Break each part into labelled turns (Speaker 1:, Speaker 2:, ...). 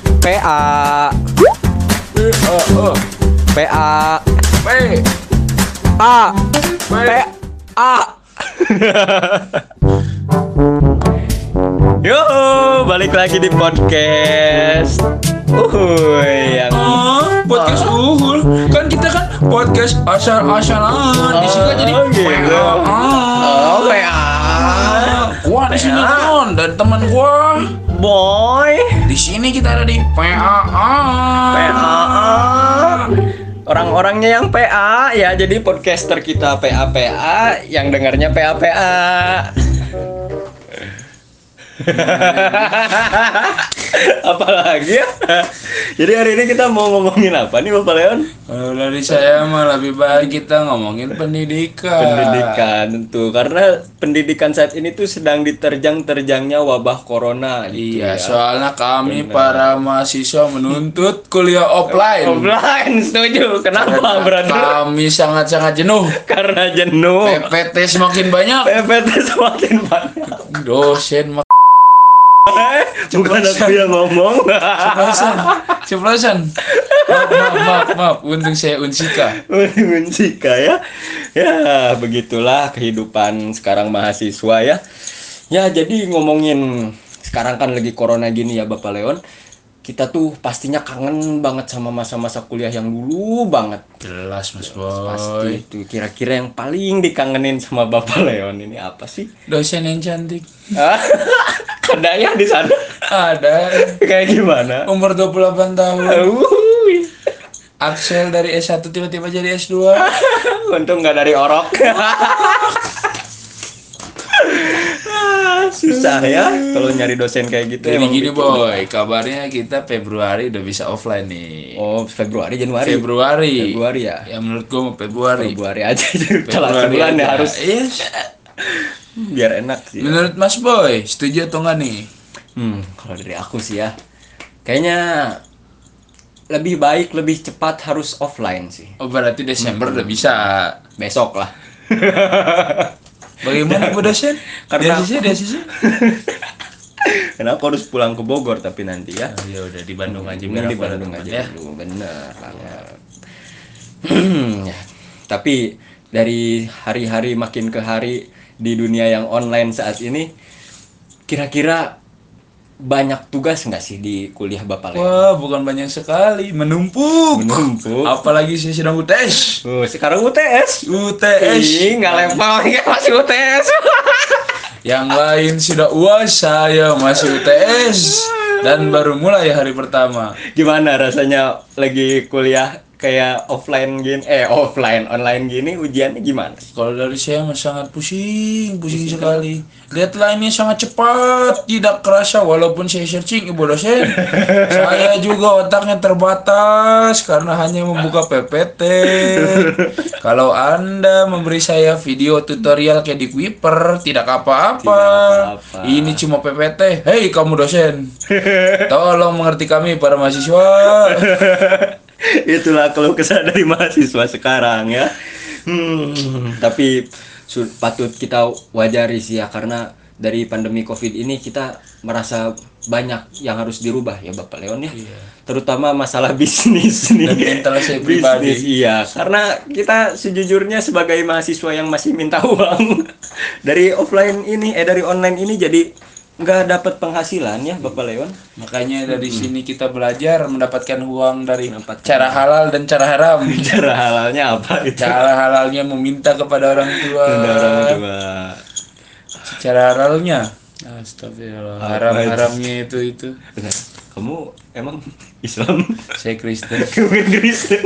Speaker 1: PA
Speaker 2: I A E
Speaker 1: PA
Speaker 2: P
Speaker 1: A
Speaker 2: P
Speaker 1: Eh, A Yo, balik lagi di podcast. Uhuy, yang
Speaker 2: Ah, podcast
Speaker 1: eh,
Speaker 2: Uhul kan kita kan podcast asal-asalan di sini kan jadi
Speaker 1: Oh, gitu.
Speaker 2: ah
Speaker 1: Oh, Iya. PA.
Speaker 2: gua di sini Leon dan teman gua
Speaker 1: Boy.
Speaker 2: di sini kita ada di PAA
Speaker 1: PA. Orang-orangnya yang PA ya, jadi podcaster kita PA PA yang dengarnya PA PA. Apalagi ya? Jadi hari ini kita mau ngomongin apa nih Bapak Leon?
Speaker 2: kalau Eh, dari saya mah lebih baik kita ngomongin pendidikan
Speaker 1: Pendidikan tentu karena pendidikan saat ini tuh sedang diterjang-terjangnya wabah corona. gitu ya.
Speaker 2: Iya, soalnya kami para mahasiswa menuntut kuliah offline.
Speaker 1: Offline setuju. Kenapa, brother?
Speaker 2: Kami sangat-sangat jenuh.
Speaker 1: Karena jenuh.
Speaker 2: PPT semakin banyak,
Speaker 1: PPT semakin banyak.
Speaker 2: dosen mak
Speaker 1: Eh, bukan aku yang ngomong.
Speaker 2: ceplosan, ceplosan. Maaf, maaf, maaf, maaf. Untung saya unsika.
Speaker 1: Mencika Oh, ya. Ya, begitulah kehidupan sekarang mahasiswa ya. Ya, jadi ngomongin sekarang kan lagi corona gini ya Bapak Leon. Kita tuh pastinya kangen banget sama masa-masa kuliah yang dulu banget.
Speaker 2: Jelas, Mas
Speaker 1: Pasti
Speaker 2: Boy.
Speaker 1: itu kira-kira yang paling dikangenin sama Bapak Leon ini apa sih?
Speaker 2: Dosen yang cantik.
Speaker 1: Ah, Ada ya di sana.
Speaker 2: Ada
Speaker 1: Kayak gimana?
Speaker 2: umur 28 tahun.
Speaker 1: Wuih.
Speaker 2: Axel dari S1 tiba-tiba jadi S2.
Speaker 1: Untung nggak dari orok. Ah, Susah ya kalau nyari dosen kayak gitu.
Speaker 2: Jadi
Speaker 1: emang
Speaker 2: gini,
Speaker 1: bikin-
Speaker 2: Boy. Kabarnya kita Februari udah bisa offline nih.
Speaker 1: Oh Februari Januari
Speaker 2: Februari.
Speaker 1: Februari ya.
Speaker 2: Ya menurut gua mau Februari.
Speaker 1: Februari aja telat sebulan ya
Speaker 2: aja.
Speaker 1: harus
Speaker 2: Iya.
Speaker 1: biar enak sih.
Speaker 2: Menurut Mas Boy, setuju atau enggak nih?
Speaker 1: Hmm kalau dari aku sih ya kayaknya lebih baik lebih cepat harus offline sih
Speaker 2: Oh berarti Desember
Speaker 1: Hmm.
Speaker 2: udah bisa.
Speaker 1: besok lah.
Speaker 2: Bagaimana Bu dosen?
Speaker 1: Karena-
Speaker 2: Karena sih, sih.
Speaker 1: Karena aku harus pulang ke Bogor tapi nanti ya.
Speaker 2: Oh, ya udah di Bandung aja
Speaker 1: Bener Hmm,
Speaker 2: biar
Speaker 1: di
Speaker 2: aku ya. ada
Speaker 1: Bandung
Speaker 2: tempat
Speaker 1: aja dulu, bener banget. Ya, Tapi dari hari-hari makin ke hari di dunia yang online saat ini, kira-kira banyak tugas nggak sih di kuliah Bapak Leon?
Speaker 2: Wah, bukan banyak sekali, menumpuk.
Speaker 1: Menumpuk.
Speaker 2: Apalagi saya sedang UTS.
Speaker 1: Oh, sekarang UTS.
Speaker 2: UTS.
Speaker 1: Ih, nggak level, nggak masih UTS.
Speaker 2: Yang lain sudah UAS, saya masih UTS dan baru mulai hari pertama.
Speaker 1: Gimana rasanya lagi kuliah kayak offline gini, eh offline, online gini ujiannya gimana?
Speaker 2: Kalau dari saya mah sangat pusing, pusing sekali. Deadline nya sangat cepat, tidak kerasa walaupun saya searching ibu dosen. saya juga otaknya terbatas karena hanya membuka PPT. Kalau Anda memberi saya video tutorial kayak di Quiper, tidak apa-apa.
Speaker 1: Tidak apa-apa.
Speaker 2: Ini cuma PPT. Hei kamu dosen, tolong mengerti kami para mahasiswa.
Speaker 1: Itulah kalau kesal dari mahasiswa sekarang ya. Hmm, tapi su- patut kita wajari sih ya karena dari pandemi Covid ini kita merasa banyak yang harus dirubah ya Bapak Leon ya. Terutama masalah bisnis nih.
Speaker 2: mental saya pribadi.
Speaker 1: Bisnis, iya, karena kita sejujurnya sebagai mahasiswa yang masih minta uang dari offline ini eh dari online ini jadi nggak dapat penghasilan ya Bapak Leon.
Speaker 2: Makanya dari sini kita belajar Hmm. mendapatkan uang dari cara halal dan cara haram.
Speaker 1: Cara halalnya apa itu?
Speaker 2: Cara halalnya meminta kepada orang tua.
Speaker 1: Orang tua.
Speaker 2: Cara halalnya. Astagfirullah. Haram-haramnya itu itu.
Speaker 1: Benar. Kamu emang Islam?
Speaker 2: Saya Kristen.
Speaker 1: Bukan Kristen.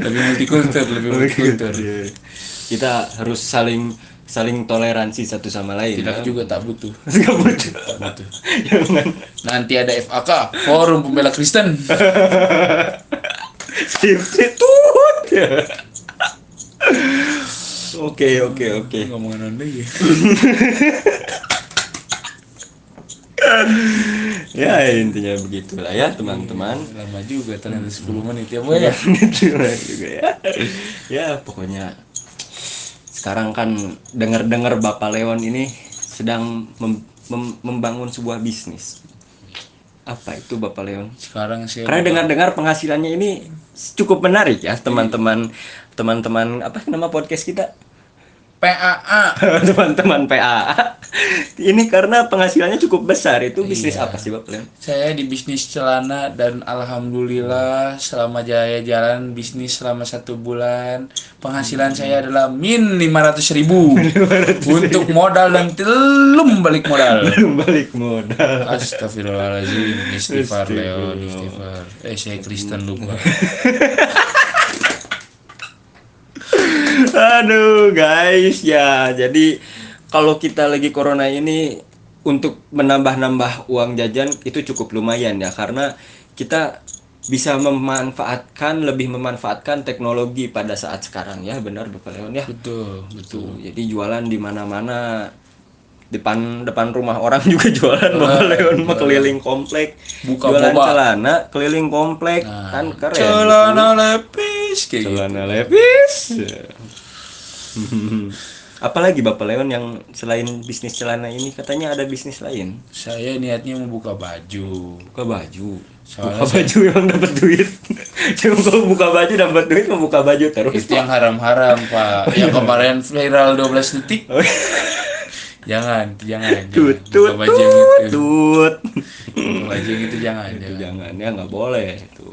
Speaker 2: Lebih multikultur, lebih multikultur.
Speaker 1: Kita harus saling saling toleransi satu sama lain.
Speaker 2: Tidak juga tak butuh.
Speaker 1: Tidak butuh. Jangan
Speaker 2: Nanti ada FAK, Forum Pembela Kristen.
Speaker 1: substitut. Ya. Oke oke oke.
Speaker 2: Ngomongan Anda ya.
Speaker 1: Ya intinya begitulah ya teman-teman.
Speaker 2: Lama juga ternyata 10 menit ya, Boy. ya?
Speaker 1: Bener juga ya. Ya pokoknya sekarang kan dengar-dengar Bapak Leon ini sedang mem- mem- membangun sebuah bisnis. apa itu Bapak Leon?
Speaker 2: Sekarang saya
Speaker 1: Karena dengar-dengar penghasilannya ini cukup menarik ya teman-teman teman-teman apa nama podcast kita?
Speaker 2: PAA.
Speaker 1: teman-teman PA. ini karena penghasilannya cukup besar. Itu bisnis apa sih Bapak Leon?
Speaker 2: Saya di bisnis celana dan alhamdulillah selama jaya jalan bisnis selama satu bulan penghasilan saya adalah min 500 ribu untuk modal dan telum balik modal.
Speaker 1: Balik modal.
Speaker 2: Astagfirullahaladzim, istighfar Leo, istighfar. Eh saya Kristen lupa.
Speaker 1: Aduh guys ya jadi kalau kita lagi corona ini untuk menambah-nambah uang jajan itu cukup lumayan ya karena kita bisa memanfaatkan lebih memanfaatkan teknologi pada saat sekarang ya benar Bapak Leon ya
Speaker 2: Betul, betul.
Speaker 1: tuh jadi jualan di mana-mana depan depan rumah orang juga jualan Bapak Leon mah keliling komplek
Speaker 2: Ah, Buka
Speaker 1: jualan
Speaker 2: boba.
Speaker 1: celana keliling komplek
Speaker 2: Nah,
Speaker 1: kan keren
Speaker 2: Celana lepis kayak gitu.
Speaker 1: celana levis apalagi bapak Leon yang selain bisnis celana ini katanya ada bisnis lain
Speaker 2: Saya niatnya mau buka baju.
Speaker 1: buka baju
Speaker 2: Soalnya
Speaker 1: buka baju emang dapat duit cuma kalau buka baju dapat duit mau buka baju terus
Speaker 2: Itu yang haram-haram, Pak. Yang kemarin viral 12 detik.
Speaker 1: iya. Oh,
Speaker 2: Jangan, jangan.
Speaker 1: tut
Speaker 2: jangan.
Speaker 1: tut
Speaker 2: Buka baju yang
Speaker 1: tut
Speaker 2: itu. Iya.
Speaker 1: tut
Speaker 2: Buka baju yang itu jangan,
Speaker 1: itu
Speaker 2: jangan.
Speaker 1: jangan ya nggak boleh itu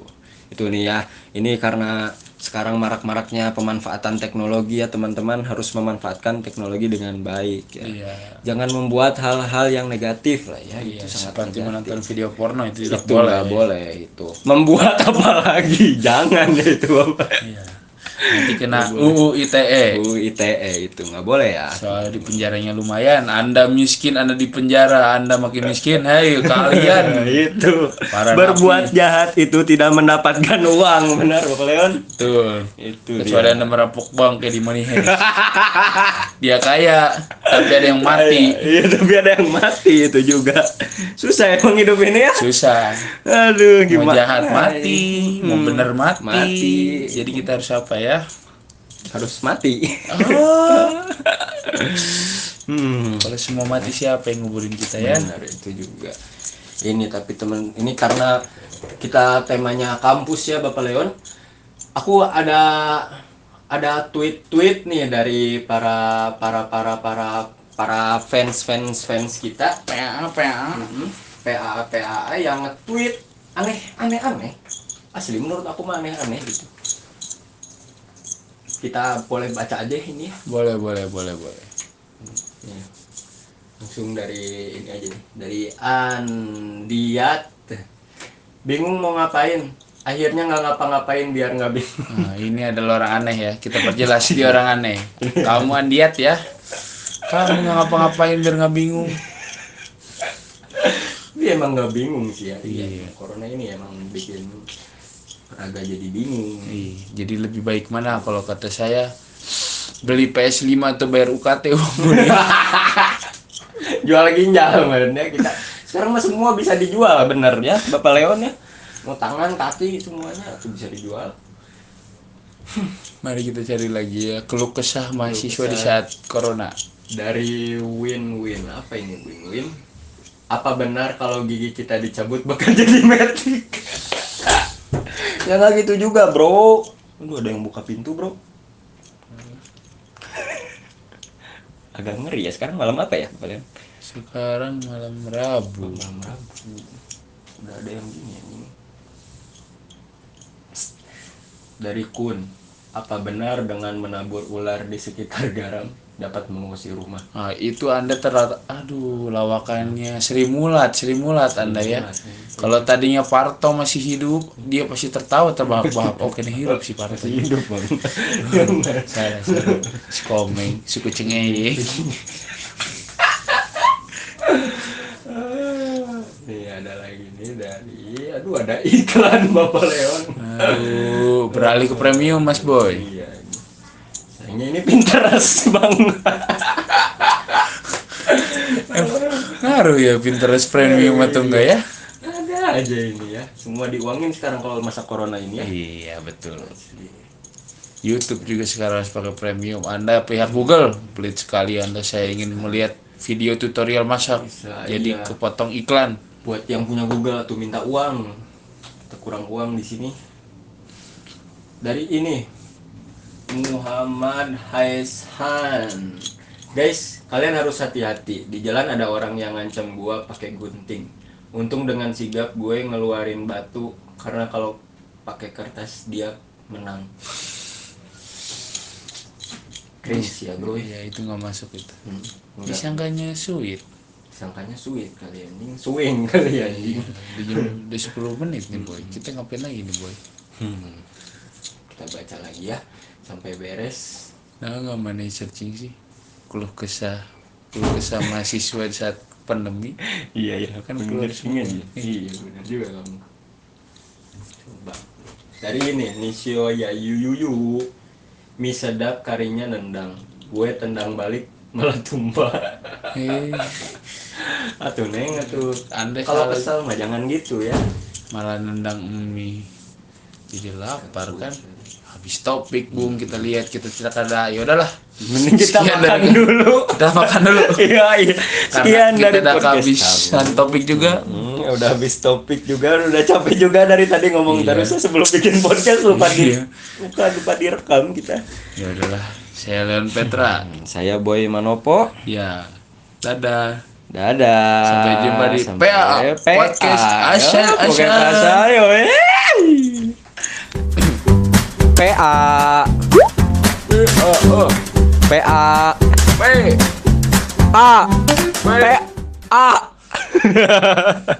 Speaker 1: itu nih ya ini karena sekarang marak-maraknya pemanfaatan teknologi ya teman-teman harus memanfaatkan teknologi dengan baik ya
Speaker 2: Iya.
Speaker 1: jangan membuat hal-hal yang negatif lah ya itu
Speaker 2: Iya,
Speaker 1: sangat
Speaker 2: seperti
Speaker 1: negatif.
Speaker 2: menonton video porno itu tidak
Speaker 1: itu
Speaker 2: boleh.
Speaker 1: nggak boleh itu membuat apa lagi jangan ya itu apa
Speaker 2: Iya. Nanti kena UU ITE.
Speaker 1: UU ITE itu nggak boleh ya
Speaker 2: Soalnya E. di penjaranya lumayan. Anda miskin, Anda di penjara, Anda makin miskin. Hei,
Speaker 1: Nah,
Speaker 2: kalian.
Speaker 1: itu
Speaker 2: Para
Speaker 1: berbuat jahat itu tidak mendapatkan uang benar Bapak Leon
Speaker 2: Betul.
Speaker 1: itu
Speaker 2: Kecuali Anda merampok bank kayak di Money Heist. Dia kaya, tapi ada yang mati.
Speaker 1: iya tapi ada yang mati itu juga susah emang hidup ini ya
Speaker 2: Susah.
Speaker 1: aduh
Speaker 2: Mau
Speaker 1: gimana Hmm.
Speaker 2: jahat mati, mau bener mati.
Speaker 1: Mati.
Speaker 2: Jadi kita harus apa ya?
Speaker 1: harus mati Oh. hmm
Speaker 2: Kalau semua mati siapa yang nguburin kita ya?
Speaker 1: Benar itu juga. Ini tapi temen ini karena kita temanya kampus ya Bapak Leon. Aku ada ada tweet-tweet nih dari para para para para para fans fans fans kita Mhm.
Speaker 2: PA, PA.
Speaker 1: PA PA yang nge-tweet aneh aneh aneh asli menurut aku mah aneh aneh gitu kita boleh baca aja ini ya.
Speaker 2: Boleh, boleh, boleh, boleh.
Speaker 1: Ya. Langsung dari ini aja nih. Dari Andiat. Bingung mau ngapain? Akhirnya nggak ngapa-ngapain biar nggak bingung.
Speaker 2: Nah, ini adalah orang aneh ya. Kita perjelas dia orang aneh. Kamu Andiat ya. Kamu nggak ngapa-ngapain biar nggak bingung.
Speaker 1: Dia emang nggak bingung sih ya.
Speaker 2: Iya.
Speaker 1: Corona ini emang bikin agak jadi bingung.
Speaker 2: Ih, jadi lebih baik mana kalau kata saya beli PS5 atau bayar UKT uang kuliah.
Speaker 1: Jual ginjal kemarin ya kita. Sekarang mah semua bisa dijual bener ya, Bapak Leon ya. Mau tangan, kaki semuanya itu bisa dijual.
Speaker 2: Mari kita cari lagi ya keluh kesah mahasiswa di
Speaker 1: kesah.
Speaker 2: saat corona.
Speaker 1: dari win-win apa ini win-win apa benar kalau gigi kita dicabut bakal jadi metik ya nggak gitu juga bro aduh ada yang buka pintu bro agak ngeri ya sekarang malam apa ya kalian
Speaker 2: Sekarang malam Rabu.
Speaker 1: malam rabu udah ada yang gini ya ini dari kun apa benar dengan menabur ular di sekitar garam dapat mengusir rumah
Speaker 2: Nah, itu Anda terlalu aduh lawakannya Sri Mulat, Sri Mulat Anda ya. Kalau tadinya Parto masih hidup, dia pasti tertawa terbahak-bahak. Oke, nih hidup si Parto.
Speaker 1: hidup bang
Speaker 2: Salah, salah. Si Komeng, si kucing ngeyek.
Speaker 1: nih Iya, ada lagi nih dari aduh ada iklan bapak Leon
Speaker 2: Aduh, beralih ke premium Mas Boy.
Speaker 1: iya ini. sayangnya ini Pinterest bang
Speaker 2: Ngaruh ya Pinterest premium atau enggak ya?
Speaker 1: ada aja ini ya semua diuangin sekarang kalau masa corona ini ya
Speaker 2: Iya, betul. YouTube juga sekarang harus pakai premium. Anda pihak Google, pelit sekali Anda. Saya ingin melihat video tutorial masak.
Speaker 1: Bisa,
Speaker 2: Jadi
Speaker 1: iya.
Speaker 2: kepotong iklan.
Speaker 1: buat yang punya Google tuh minta uang kita kurang uang di sini dari ini Muhammad Haishan guys kalian harus hati-hati di jalan ada orang yang ngancam gua pakai gunting untung dengan sigap gue ngeluarin batu karena kalau pakai kertas dia menang Chris ya bro
Speaker 2: Iya itu nggak masuk itu.
Speaker 1: Hmm, enggak.
Speaker 2: Disangkanya sulit.
Speaker 1: sangkanya suit kali anjing suing kali ya, anjing
Speaker 2: Udah jam
Speaker 1: Hmm.
Speaker 2: udah 10 menit nih boy. Kita ngapain lagi nih boy?
Speaker 1: kita baca lagi ya sampai beres
Speaker 2: Nah nggak mana yang searching sih? Keluh kesah, keluh kesah mahasiswa di saat pandemi.
Speaker 1: iya iya kan
Speaker 2: Kan keluar
Speaker 1: bener
Speaker 2: semua.
Speaker 1: semua iya bener juga kamu coba dari ini Nishio ya yuyuyu mie sedap karinya nendang gue tendang balik malah tumpah
Speaker 2: Eh,
Speaker 1: atuh neng atuh
Speaker 2: anda
Speaker 1: kalau
Speaker 2: kalau
Speaker 1: kesal mah jangan gitu ya
Speaker 2: malah nendang mie jadi lapar kan habis topik bung kita lihat kita tidak ada ya udahlah
Speaker 1: mending kita
Speaker 2: Sekian
Speaker 1: makan
Speaker 2: dari-
Speaker 1: dulu
Speaker 2: kita makan dulu
Speaker 1: iya iya
Speaker 2: karena
Speaker 1: sekian
Speaker 2: kita
Speaker 1: dari
Speaker 2: udah
Speaker 1: podcast
Speaker 2: kehabisan
Speaker 1: kami.
Speaker 2: topik juga
Speaker 1: Hmm, udah habis topik juga, udah capek juga dari tadi ngomong
Speaker 2: Iya.
Speaker 1: terus ya, sebelum bikin podcast lupa di
Speaker 2: Iya.
Speaker 1: lupa, lupa direkam kita.
Speaker 2: ya udahlah saya Leon Petra
Speaker 1: Hmm, Saya Boy Manopo.
Speaker 2: ya dadah
Speaker 1: Dadah.
Speaker 2: Sampai jumpa di PA, Podcast Ashan,
Speaker 1: Yo, Podcast
Speaker 2: Ashan.
Speaker 1: Ashan, yo, eh. hey. PA Oh, PA
Speaker 2: Weh,
Speaker 1: A
Speaker 2: weh.
Speaker 1: A